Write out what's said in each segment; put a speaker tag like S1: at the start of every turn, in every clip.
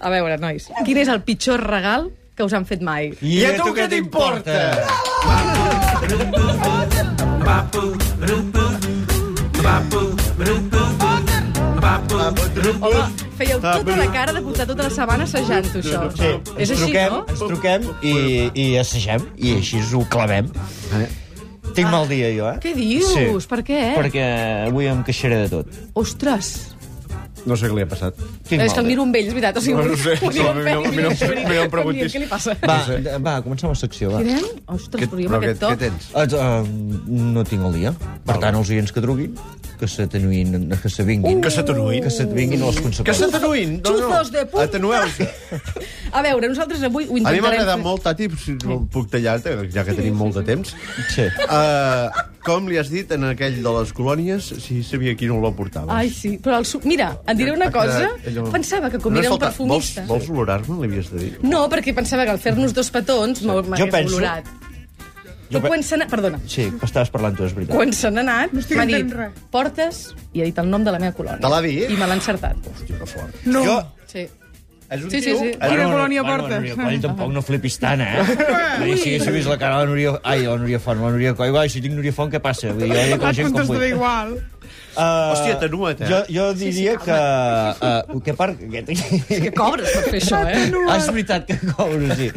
S1: A veure, nois, quin és el pitjor regal que us han fet mai?
S2: I a tu què t'importa?
S1: Home, fèieu
S3: Ah,
S1: tota la cara de portar tota la setmana assajant-ho, això.
S2: Sí,
S1: és
S2: ens
S1: així,
S2: truquem,
S1: no?
S2: ens truquem i, i assagem, i així ho clavem. Tinc mal dia, jo, eh?
S1: Ah, Què dius?
S2: Sí.
S1: Per què?
S2: Perquè avui em queixaré de tot.
S1: Ostres!
S3: No sé què li ha passat.
S2: Tinc
S1: és que el miro amb ells, veritat. O sigui,
S3: No, no sé,
S1: ho miro
S3: no,
S1: amb
S3: no,
S1: ells,
S3: no, no, no,
S1: mira,
S3: no em
S1: com dient,
S3: preguntis.
S1: Què li passa?
S2: Va, d- va, comencem la secció, va.
S1: Tirem? Ostres, però jo amb
S3: què
S1: aquest toc...
S3: tens?
S2: Et, uh, no tinc el dia. Per tant, els oients que truguin, que s'atenuïn, que s'avinguin.
S3: Que s'atenuïn?
S2: Que s'atenuïn les
S3: Que
S2: conseqüències.
S3: s'atenuïn?
S1: Chuzos de punta.
S3: Atenueu-se.
S1: A veure, nosaltres avui ho
S3: A mi m'ha agradat
S1: intentarem...
S3: molt, Tati, si no puc tallar-te, ja que tenim molt de temps.
S2: Sí.
S3: Uh, com li has dit en aquell de les colònies, si sabia qui no la portava?
S1: Ai, sí, però el... su- Mira, et diré una
S3: Ha
S1: cosa.
S3: quedat allò-
S1: Pensava que com
S3: No,
S1: era un
S3: escolta,
S1: perfumista...
S3: Vols, vols olorar-me, li havies de dir?
S1: No, perquè pensava que al fer-nos dos petons m'hauria
S2: penso-
S1: olorat.
S2: Jo
S1: Tu
S2: pe-
S1: quan se n'ha... Perdona.
S2: Sí, estaves parlant tu, és veritat.
S1: Quan se n'ha anat, m'ha dit, portes, i ha dit el nom de la meva colònia.
S3: Te l'ha dit?
S1: I me l'ha encertat.
S3: Hòstia, que fort.
S4: No.
S2: Jo...
S1: Sí.
S3: És un
S1: Sí, sí,
S3: tio...
S1: sí.
S2: Eh?
S3: És
S4: Quina
S3: un-
S4: colònia
S2: bueno,
S4: portes?
S2: Núria Coll, tampoc no flipis tant, eh? Vull dir, si haguéssiu vist la cara de la Núria... Ai, la Núria Font, la Núria Coll. Ai, si tinc Núria Font, què passa? Vull dir, jo dic la
S4: Et
S2: gent com vull.
S4: contestaré igual.
S2: Uh,
S3: Hòstia, atenua't, eh?
S2: Jo, jo diria sí, sí, que... Uh, que part... Que...
S1: Que cobres per fer això, eh?
S2: Ah, és veritat que cobro, sí.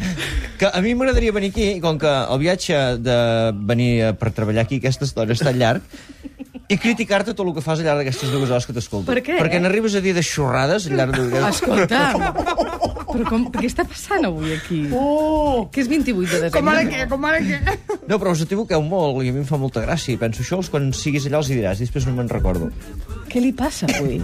S2: Que a mi m'agradaria venir aquí, i com que el viatge de venir eh, per treballar aquí aquesta estona és tan llarg, i criticar-te tot el que fas al llarg d'aquestes dues hores que t'escolto.
S1: Per què?
S2: Perquè n'arribes a dir de xorrades al llarg de...
S1: Escolta'm, però com, què està passant avui aquí? Oh! Que és 28 de desembre.
S4: Com ara què? Com ara què?
S2: No, però us equivoqueu molt i a mi em fa molta gràcia. I penso, això els quan siguis allà els hi diràs, i després no me'n recordo.
S1: Què li passa avui?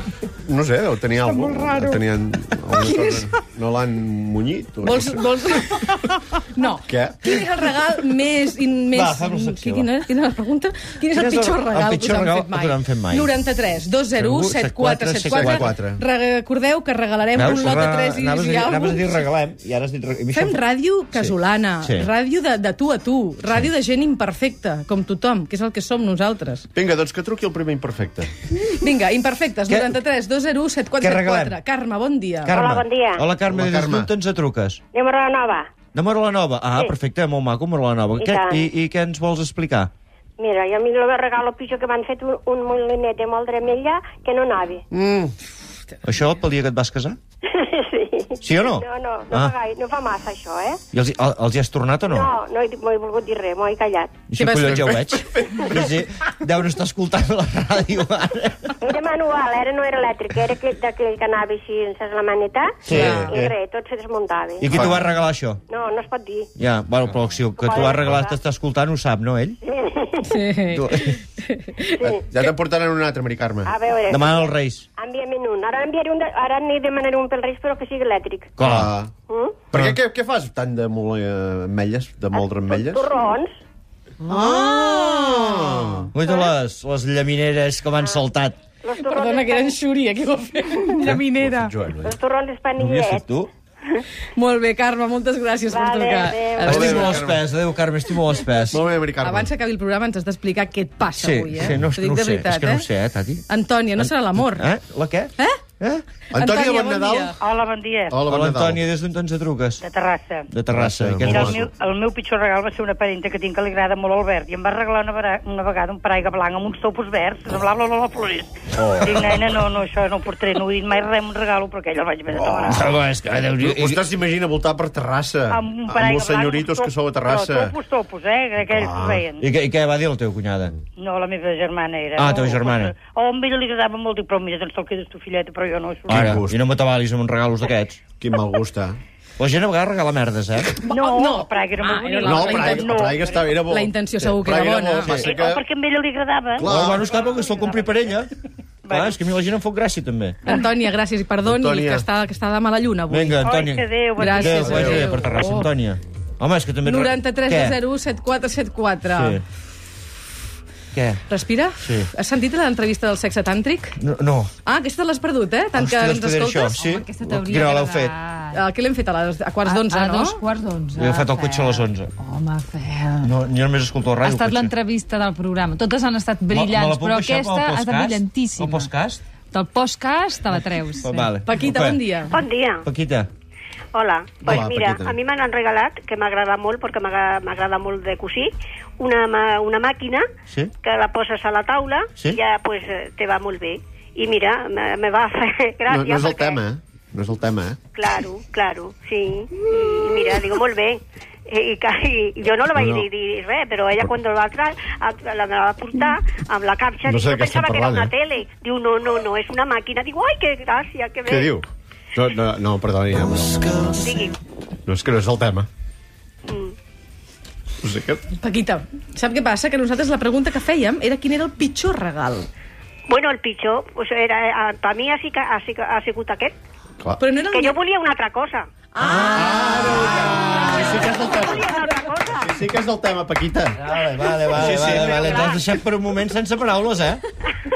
S3: No sé, deu tenir alguna
S4: molt
S3: cosa.
S4: raro.
S3: Tenien alguna cosa. No l'han munyit? o no
S1: Vols...
S3: sé.
S1: vols... No.
S3: Què?
S1: Quin és el regal més... In, més...
S2: Va, fem la secció,
S1: Quina, quina és la pregunta? Quin és el pitjor regal,
S2: pitjor
S1: que us han
S2: regal
S1: fet mai?
S2: que us han fet mai?
S1: 93 201 7474
S3: 74.
S1: Recordeu que regalarem un lot de 3 i
S2: anaves, a dir, anaves a dir
S1: àlbums.
S2: regalem, i ara has dit... re- i a mi
S1: Fem
S2: això em-
S1: ràdio casolana,
S2: Sí.
S1: sí. ràdio de, de tu a tu, ràdio de gent imperfecta, com tothom, que és el que som nosaltres.
S3: Vinga, doncs que truqui el primer imperfecte.
S1: Vinga, imperfectes,
S2: Què-
S1: 93 201
S2: Què regalem?
S1: 7474. Carme, bon dia.
S2: Carme.
S5: Hola, bon dia.
S2: Hola, Carme,
S3: Hola,
S2: des
S3: Carme.
S2: d'on ens truques?
S5: De Nova.
S2: De Morola Nova. Ah, perfecte, molt maco, Morola Nova.
S5: I
S2: Què,
S5: tant.
S2: i, I què ens vols explicar?
S5: Mira, jo a mi el regalo pitjor que m'han fet un, un molinet de molt d'amella que no anava.
S3: Mm,
S2: Això pel dia que et vas casar?
S5: sí.
S2: Sí o no?
S5: No, no, no,
S2: Ah.
S5: fa gaire, no fa massa això, eh?
S2: I els, hi- el- els hi has tornat o no?
S5: No, no he, no he volgut dir res, m'ho he callat.
S2: Això,
S1: Què vas
S2: collons,
S1: fer?
S2: ja ho veig. Sí, sí. Deuen estar escoltant la ràdio ara.
S5: Era manual, era no era elèctric, era aquell- d'aquell que anava així, saps la maneta?
S2: Sí,
S5: I
S2: eh.
S5: res, tot se desmuntava.
S2: I qui t'ho va regalar, això?
S5: No, no es pot dir.
S2: Ja, bueno, però si el que t'ho va regalar t'està escoltant ho sap, no, ell?
S1: Sí.
S3: Ja te'n portaran un altre, Mari Carme.
S5: A veure,
S2: Demana als Reis.
S5: envia'm un. Ara enviaré un, de, ara n'hi demanaré un pel Reis, però que sigui elèctric.
S2: Clar.
S5: Mm?
S3: Per Ah. què, què, què fas tant de moler eh, ametlles, de moldre ametlles?
S5: Torrons.
S3: Ah.
S2: Vull dir les, les llamineres que m'han saltat.
S5: Los torrons
S1: Perdona, que era en
S5: estan-
S1: Xúria, qui ho ha fet.
S4: Llaminera.
S3: Joan, eh?
S5: Los torrons estan
S2: No ho havia fet tu?
S1: Molt bé, Carme, moltes gràcies per
S5: Vale,
S1: trucar.
S5: adéu.
S1: Estic-
S2: Estimo
S3: Carme.
S2: les pes, adéu, Carme, estimo les pes.
S3: Molt bé, Mari Carme.
S1: Abans que acabi el programa ens has d'explicar què et passa
S2: Sí,
S1: avui, eh?
S2: sí, no,
S1: T'ho dic
S2: no ho
S1: de
S2: sé,
S1: veritat,
S2: és que no ho sé, eh, Tati.
S1: Antònia, no serà l'amor.
S2: Eh? La què?
S1: Eh?
S2: Eh?
S3: Antònia, bon Nadal.
S1: dia.
S6: Hola, bon dia.
S3: Hola, bon
S2: Hola,
S3: Nadal.
S2: Antònia, des d'on ens truques?
S6: De Terrassa.
S2: De Terrassa.
S3: Terrassa,
S2: Què ens
S6: Mira,
S3: molt
S6: el
S2: vols?
S3: maco.
S6: meu, el meu pitjor regal va ser una parenta que tinc que li agrada molt al verd i em va regalar una, vara- una vegada un paraigua blanc amb uns topos verds, semblava la Lola Flores. Oh. Dic, nena, no, no, això no ho portaré, no he dit mai res, un regalo, però aquell el vaig haver de
S3: Oh.
S6: demanar.
S2: Home, és que, adéu, i- i-
S3: Vostè s'imagina voltar per Terrassa,
S6: Amb un
S3: amb,
S6: paraigua
S3: els senyoritos
S6: blanc,
S3: que sou a
S6: Però
S3: Terrassa. Ah.
S6: topos, topos, eh, que aquells que es veien.
S2: I, què, I què va dir la teva cunyada?
S6: No, la meva germana era.
S2: Ah, teva
S6: O-
S2: germana.
S6: O, o a ella li agradava molt, dic, però mira, doncs te'l quedes tu, filleta, però jo no. això-
S2: Ara,
S3: gust.
S2: i no m'atabalis amb uns regalos d'aquests.
S3: Quin mal gust, eh?
S2: La gent a vegades regala merdes, eh?
S6: No,
S1: No.
S6: no, Praga era
S1: Ah,
S6: molt
S1: era
S6: bonic.
S1: la-
S3: No,
S1: la
S3: però
S1: inten-
S3: no, Praga està, era bo.
S1: La intenció segur que
S3: Praga
S1: era
S3: bo,
S1: bona.
S3: passa
S6: Eh,
S3: que...
S6: o perquè a ella li agradava.
S3: Clar.
S2: Oh, bueno, està, perquè se'l compri per ella. Clar, és que a mi la gent em fot gràcia, també.
S1: Antònia, gràcies i perdoni,
S3: Antònia.
S1: que està, que està de mala lluna avui.
S2: Vinga,
S6: Ai,
S2: Antònia.
S6: que Déu, bon dia.
S1: Gràcies,
S2: Adéu, vagi
S1: adéu.
S2: bé per Terrassa,
S1: Oh.
S2: Antònia. Home, és que també...
S1: 93
S2: Què?
S1: 0 7474.
S2: Sí. Què?
S1: Respira?
S2: Sí.
S1: Has sentit l'entrevista del sexe tàntric?
S2: No, no.
S1: Ah, aquesta l'has perdut, eh? Tant
S2: Ostres,
S1: que ens
S2: poder
S1: escoltes.
S2: Això, sí.
S7: Home, aquesta t'hauria
S2: Quina hora l'heu
S7: d'agradar.
S1: Ah, què l'hem fet a, les, a quarts d'onze,
S7: a,
S4: Ah,
S7: a
S1: no?
S7: dos quarts d'onze.
S2: He agafat el
S7: Fel.
S2: cotxe a les 11.
S7: Home, Fel.
S2: No, jo només escolto la
S7: Ha
S2: ràdio.
S7: estat
S2: cotxe.
S7: l'entrevista del programa. Totes han estat brillants, però aquesta ha estat brillantíssima.
S2: El postcast?
S7: Del podcast te la treus.
S2: Oh, vale.
S1: Paquita, bon dia.
S5: Bon dia.
S2: Paquita.
S5: Hola. Pues
S3: Hola,
S5: mira,
S3: Paquita.
S5: a mi me n'han regalat, que m'agrada molt, perquè m'agra- m'agrada molt de cosir, una, ma- una màquina
S2: Sí.
S5: que la poses a la taula
S2: Sí.
S5: i ja pues, eh, te va molt bé. I mira, me, me va fer
S3: No,
S5: gràcia.
S3: no és el
S5: perquè-
S3: tema, eh? No és el tema, eh?
S5: Claro, claro, sí. I mira, digo, molt bé. Eh, I, i, ca- i jo no la vaig
S3: No,
S5: no,
S3: no.
S5: dir, dir res, però ella quan la, tra, la, la va portar amb la capxa,
S3: No
S5: dic,
S3: sé de
S5: jo
S3: què estem
S5: pensava que era
S3: parlant,
S5: una
S3: eh?"
S5: tele. Diu, no, no, no, és una màquina. Dic, ai, que gràcia, que bé.
S3: Què diu? No, no, no perdoni, eh, però...
S5: Digui,
S3: No, és que no és el tema.
S5: Mm.
S3: No sé què...
S1: Paquita, sap què passa? Que nosaltres la pregunta que fèiem era quin era el pitjor regal.
S5: bueno, el pitjor, pues era, per mi ha, sigut- ha, sigut- ha sigut aquest,
S3: Clar.
S1: Però no era el...
S5: que jo volia una altra cosa.
S3: Ah, sí que és el
S5: Volia
S3: tema.
S5: una altra cosa.
S3: Sí que és el tema, Paquita.
S2: Vale, vale, vale.
S3: Sí, sí.
S2: vale, vale. T'has deixat per un moment sense paraules, eh?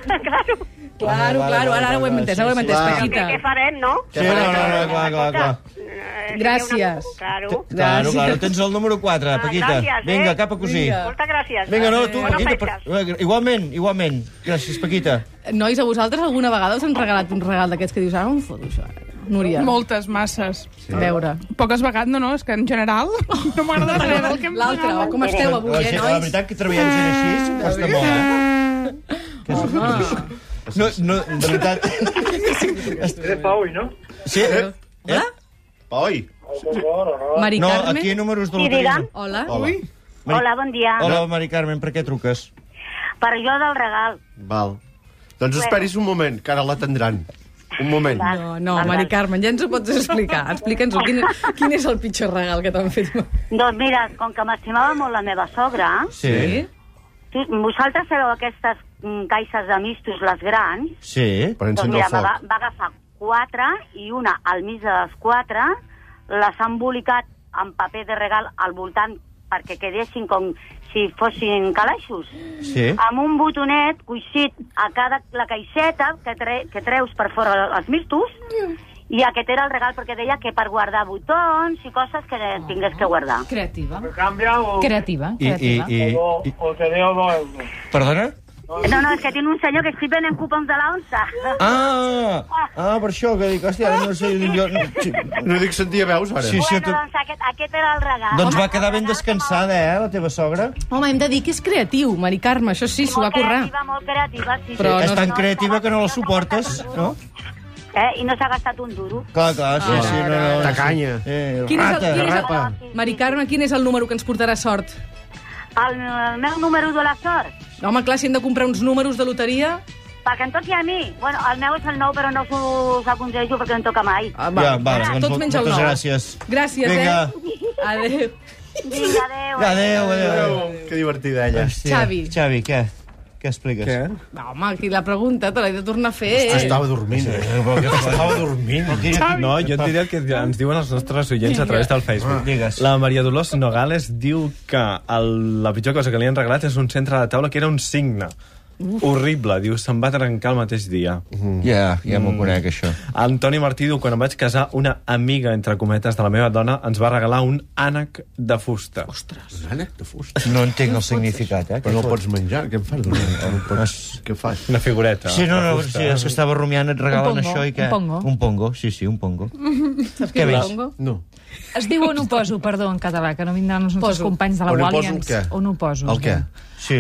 S5: claro.
S1: Claro,
S2: Ah, Vale,
S1: claro,
S2: vale,
S1: ara, ara ho
S2: vale,
S1: hem entès, ara ho hem
S2: sí,
S1: entès,
S3: sí.
S5: Què, què
S1: Paquita.
S5: farem, no?
S2: Sí, no, no, no, clar, clar, clar.
S5: Eh,
S1: Gràcies.
S5: seria Claro.
S2: Claro,
S1: Gràcies.
S2: claro, tens el número 4,
S5: Ah,
S2: Paquita.
S5: gràcies, eh?
S2: Vinga, cap a cosir.
S1: Vinga.
S5: Moltes gràcies.
S2: Vinga, no, tu,
S5: Bona
S2: Paquita.
S5: festes.
S2: Per... eh, Igualment, igualment. Gràcies, Paquita.
S1: Nois, a vosaltres alguna vegada us han regalat un regal d'aquests que dius, ara on foto això? ara?" Núria,
S4: Moltes, masses.
S1: a veure.
S4: Poques vegades, no, no, és que en general no m'agrada res del que em
S1: L'altre,
S4: regalen.
S1: o com esteu avui,
S2: la,
S1: eh,
S2: gent- la
S1: nois? Ah.
S2: veritat que treballem gent així costa molt, eh? No, no, de veritat...
S8: De Pau, ¿no?
S2: Sí, eh?
S1: Hola?
S3: Oi!
S1: Mari
S2: No,
S1: Carme?
S2: aquí hi ha números de
S5: Sí,
S2: loteria.
S5: digue'm.
S1: Hola?
S3: Hola.
S2: Mari-
S5: Hola, bon dia.
S2: Hola, Mari Carmen, per què truques?
S5: Per jo del regal.
S3: Val. Doncs esperis un moment, que ara l'atendran. Un moment.
S1: No, no, Mari Carmen, ja ens ho pots explicar. Explica'ns-ho, quin, quin és el pitjor regal que t'han fet.
S9: Doncs mira, com que m'estimava molt la meva sogra,
S2: Sí.
S9: tu, vosaltres sabeu aquestes mm, caixes de mistos, les grans?
S2: Sí.
S3: Per
S9: Doncs
S3: encendre
S9: mira,
S3: el
S9: va,
S3: foc.
S9: va agafar quatre i una al mig de les quatre, les ha embolicat amb paper de regal al voltant perquè quedessin com si fossin calaixos.
S2: Sí.
S5: Ah,
S9: Amb un botonet coixit a cada la caixeta que, tre, que treus per fora els mistos, i aquest era el regal perquè deia que per guardar botons i coses que tingués que guardar.
S7: Creativa.
S8: Cambia o,
S7: Creativa,
S2: I, i,
S7: creativa.
S2: i,
S8: o,
S2: i...
S8: o te leo dos euros.
S2: Perdona?
S9: No, no, és que tiene un senyor que estic venent cupons de la onça.
S2: Ah! Ah, per això, que dic, hòstia, ara no sé... Jo... Sí,
S5: Ah.
S3: No dic sentir veus, ara.
S2: sí, sí,
S9: Bueno,
S2: que...
S9: doncs aquest, aquest era el
S1: Ah,
S9: regal.
S2: Doncs va quedar ben descansada, eh, la teva sogra?
S1: Home, hem de dir que és creatiu, Mari Carme, això sí, s'ho va
S9: Molt
S1: currar.
S9: creativa, molt creativa, sí.
S1: Però
S9: sí.
S2: És
S1: no-
S2: tan creativa que no la suportes, no?
S9: Eh? I no s'ha gastat un duro.
S2: Clar, clar, sí, sí, no, no. no.
S3: Tacanya.
S2: Eh,
S1: Quin és el-
S2: rata,
S1: quin és el-
S2: rata.
S1: Mari Carme, quin és el número que ens portarà sort?
S9: El, el meu número de la sort,
S1: Home, clar, si hem de comprar uns números de loteria...
S9: perquè em toqui a mi. Bueno, el meu és el nou, però no us aconsello perquè no em toca mai.
S1: Ah,
S2: Ja, vale, doncs
S1: Tots
S2: mol-
S1: menys el
S2: moltes
S1: nou.
S2: gràcies.
S1: Gràcies,
S2: Vinga.
S1: eh? Adéu.
S9: Vinga, adéu.
S2: Adéu, adéu.
S3: Que divertida, ella.
S2: Hòstia.
S1: Xavi.
S2: Xavi, què? Què expliques? Què?
S1: No, home, aquí la pregunta te l'he de tornar a fer.
S3: Estava dormint. Estava dormint.
S10: No, jo et diré el que ens diuen els nostres oients a través del Facebook.
S2: Digues.
S10: La Maria Dolors Nogales diu que el, la pitjor cosa que li han regalat és un centre de taula que era un signe. Horrible, diu, se'm va trencar el mateix dia.
S2: Ja, ja m'ho conec, això.
S10: Antoni Martí diu, quan em vaig casar, una amiga, entre cometes, de la meva dona ens va regalar un ànec de fusta.
S3: Ànec de fusta.
S2: No entenc el significat, eh?
S3: Però no el pots menjar, què en fas? No pots... Què fas?
S10: Una figureta.
S2: Sí, no,
S10: de
S2: no,
S10: fusta.
S2: sí, és que estava rumiant, et regalen
S7: pongo,
S2: això i que...
S7: un pongo.
S2: Un pongo, sí, sí, un pongo.
S1: Saps
S2: Què
S1: què
S2: més?
S1: més?
S3: No.
S7: Es diu on ho poso, perdó, en català, que no vindran els nostres
S1: Poso.
S7: companys de la
S3: On ho
S7: Wall
S3: poso,
S7: ens...
S3: què?
S7: On ho poso.
S3: El què?
S2: Sí.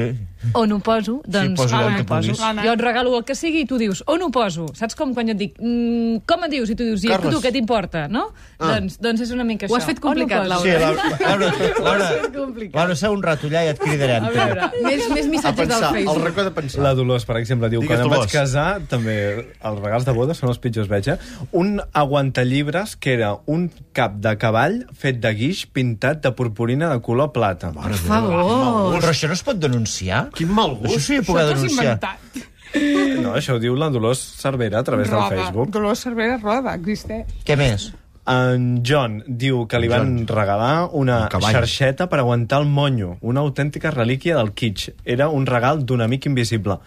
S7: On ho poso, doncs...
S2: posa allà on que
S7: poso.
S2: vulguis.
S7: Jo et regalo el que sigui i tu dius, on ho poso? Saps com quan jo et dic, mm, com et dius? I tu dius, i a
S3: Carles. Ah.
S7: tu què t'importa, no? Doncs, doncs és una mica
S1: Ho
S7: això.
S1: has fet
S7: On
S1: complicat,
S7: poso?
S1: Laura.
S2: Sí, Laura, Laura, Laura,
S1: complicat.
S2: Laura, seu un rato allà i et cridarem.
S1: A veure, més, més
S3: A
S1: missatges del
S3: pensar, el
S1: Facebook.
S3: racó de pensar.
S10: La Dolors, per exemple, diu
S3: Digues,
S10: Digues quan em vaig
S3: Dolors.
S10: casar, també els regals de boda són els pitjors, veig, eh? Un aguantallibres que era un cap de cavall fet de guix pintat de purpurina de color plata.
S1: Per
S7: Oh.
S1: favor.
S2: Però això no es pot denunciar?
S3: Quin mal
S2: Això
S3: gust.
S2: sí que ho
S4: Això
S2: puc
S4: t'ho has
S2: denunciar.
S4: inventat.
S10: No, això ho diu la Dolors Cervera a través
S4: Roda.
S10: del Facebook.
S4: Dolors Cervera Roda, existeix.
S2: Què més?
S10: En John diu que li van regalar una
S3: Un cavall.
S10: xarxeta per aguantar el monyo, una autèntica relíquia del kitsch. Era un regal d'un amic invisible.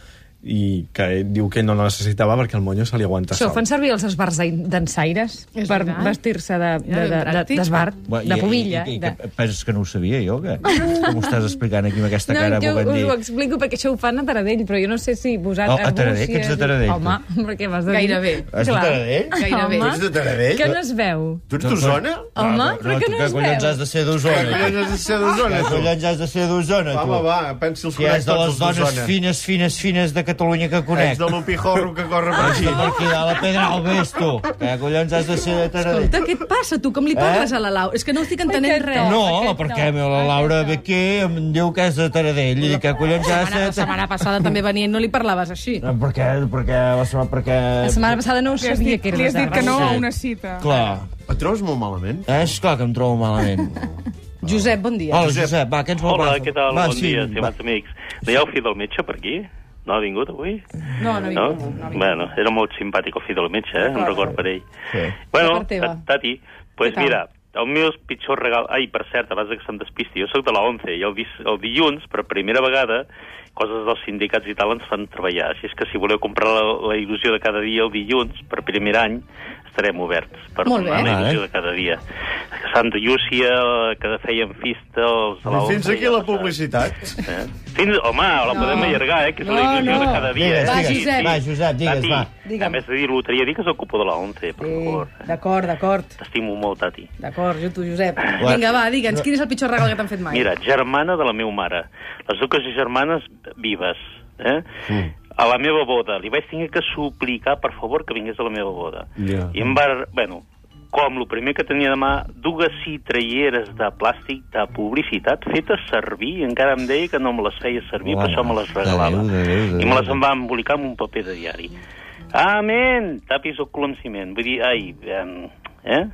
S10: i que eh, diu que ell no la necessitava perquè el monyo se li aguanta
S7: Això,
S10: sol.
S7: fan servir els esbars d'ensaires
S1: És
S7: per
S1: veritat.
S7: vestir-se de, de, de, de,
S1: pràctic.
S7: d'esbar,
S2: Bé, i-
S7: de
S2: I,
S7: pubilla.
S2: i, i,
S7: de...
S2: que penses que no ho sabia, jo? Que, com ho estàs explicant aquí amb aquesta cara
S7: jo us ho
S2: bogandí?
S7: explico perquè això ho fan a Taradell, però jo no sé si
S2: Oh,
S7: vosaltres...
S2: a Taradell, que ets de Taradell, tu.
S7: Home, però què m'has de dir?
S1: Gairebé.
S2: Ets de
S7: Clar.
S2: Taradell?
S1: Gairebé.
S7: Home,
S3: Tu ets de Taradell?
S7: Que no es veu.
S3: Tu ets d'Osona?
S7: Home, però que
S2: tu
S7: no
S2: que
S7: es
S2: collons
S7: veu.
S2: has de ser
S3: Que
S2: d'Osona? tu?
S3: collons has de ser d'Osona,
S2: Ah, Que
S3: tu?
S2: collons has de ser d'Osona,
S3: Va,
S2: tu?
S3: va, va, pensi els
S2: Si ets
S3: correctes
S2: de les
S3: els
S2: dones
S3: d'Osona.
S2: fines, fines, fines de Catalunya que conec. Ah,
S3: Ets de l'upijorro que corre per aquí.
S2: Aquí, per aquí dalt, a Pedralbes, tu. Que collons has de ser de Taradell?
S1: Escolta, què et passa, tu? Com li parles a la Lau? És que no estic entenent
S7: Aquest
S1: res.
S2: Eh? No,
S7: aquest
S2: perquè
S7: no,
S2: la Laura ve aquí em diu que és de Taradell i dic que collons ha de ser
S1: La setmana,
S2: de
S1: la
S2: Taradell.
S1: setmana passada també venia i no li parlaves així.
S2: eh, No, eh, Per què? Per què? La setmana... Per què?
S7: La setmana passada no ho
S4: Li has
S7: sabia
S4: dit,
S7: que era
S4: li has dit que no a
S2: Sí.
S4: una cita.
S2: Clar.
S3: Et trobes molt malament?
S2: Eh, Esclar que em trobo malament.
S1: Josep, bon dia.
S2: Hola, Josep, va, què ens vol?
S11: Hola,
S2: va,
S11: què tal?
S2: Va,
S11: bon
S2: sí,
S11: dia,
S2: va.
S11: estimats amics. No hi ha el fill del metge per aquí? No ha vingut avui?
S1: No, no,
S11: No?
S1: vinc. no, vinc.
S11: Bueno, era molt simpàtic el fill del metge, eh? Un record per ell.
S2: Sí.
S11: Bueno, eh,
S7: Per teva.
S11: Ta- Tati, pues
S1: Què tal?
S11: mira, el meu pitjor regal... Ai, per cert, abans que se'm despisti, jo sóc de la 11 i el, dis... el dilluns, per primera vegada, coses dels sindicats i tal ens fan treballar. Així és que si voleu comprar la, la il·lusió de cada dia el dilluns, per primer any, estarem oberts per
S1: Molt bé.
S11: comprar la
S2: Vale.
S11: il·lusió de cada dia. Santa Llúcia, que feien festa... Els de la
S3: Fins
S11: 11
S3: aquí
S11: ja
S3: la
S11: passava.
S3: publicitat.
S11: Eh? Fins, home, la
S1: No.
S11: podem allargar, eh, que és
S1: No,
S11: una il·lusió
S1: no.
S11: de cada dia.
S2: Digues,
S11: eh?
S1: digues,
S2: va, Josep, digues,
S11: Tati,
S2: va.
S1: Digue'm.
S11: a més de dir loteria, digues el cupó de la 11, per favor.
S1: Sí, d'acord, d'acord.
S11: T'estimo molt, Tati.
S1: D'acord, jo tu, Josep. Vinga, va, digue'ns, quin és el pitjor regal que t'han fet mai?
S11: Ah. Mira, germana de la meva mare. Les dues germanes vives. Eh? Mm. A la meva boda. Li vaig tenir que suplicar, per favor, que vingués a la meva boda.
S10: Ja.
S11: I em va... Bueno, com el primer que tenia de mà, dues citrelleres de plàstic de publicitat fetes servir, i encara em deia que no me les feia servir,
S2: Home,
S11: per això me les
S2: de
S11: regalava.
S2: Déu, de Déu, de
S11: I me les
S2: Déu.
S11: em va embolicar amb un paper de diari. Amen! Tapis el cul amb ciment. Vull dir, ai... em, Eh?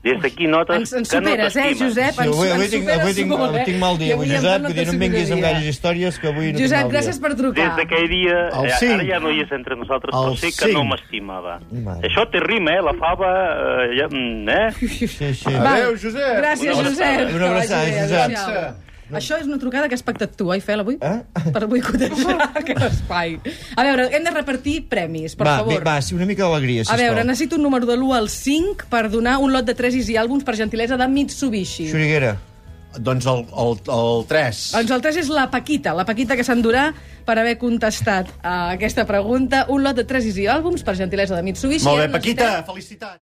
S11: Des d'aquí notes
S1: Ens, ens
S11: que no
S1: superes, eh,
S11: t'estimes.
S1: Josep?
S2: Sí,
S1: ens,
S2: avui, avui,
S1: ens
S2: tinc,
S1: superes
S2: avui tinc,
S1: molt, eh?
S2: tinc mal
S1: I
S2: dia, avui,
S1: avui em
S2: Josep,
S1: dona
S2: vull dir, no em
S1: tota
S2: vinguis amb
S1: superaria.
S2: gaires històries, que avui no tinc
S1: Josep,
S2: mal dia.
S1: gràcies per trucar.
S11: Des d'aquell dia,
S3: El
S11: eh,
S3: cinc.
S11: ara ja no hi és entre nosaltres,
S3: El
S11: però sé que no
S3: cinc.
S11: m'estimava.
S2: Mare.
S11: Això té rima, eh? La fava... Eh, ja, mm, eh?
S2: Sí, sí.
S1: Va.
S3: Adéu, Josep.
S1: Gràcies,
S11: Una abraçada.
S1: Josep.
S2: Una abraçada,
S1: Que vagi bé,
S2: Josep.
S1: adéu-siau. Això és una trucada que has pactat tu, eh, Fel, avui?
S2: Eh?
S1: Per boicotejar aquest espai. A veure, hem de repartir premis, per
S2: va, bé,
S1: favor.
S2: va, sí, una mica d'alegria,
S1: A
S2: sisplau.
S1: veure, necessito un número de l'1 al 5 per donar un lot de tresis i àlbums per gentilesa de Mitsubishi.
S2: Xuriguera.
S3: Doncs el, el, el 3.
S1: Doncs el 3 és la Paquita, la Paquita que s'endurà per haver eh, contestat a aquesta pregunta un lot de tresis i àlbums per gentilesa de Mitsubishi.
S3: Molt bé,
S1: Ara necessitem-
S3: Paquita, felicitats.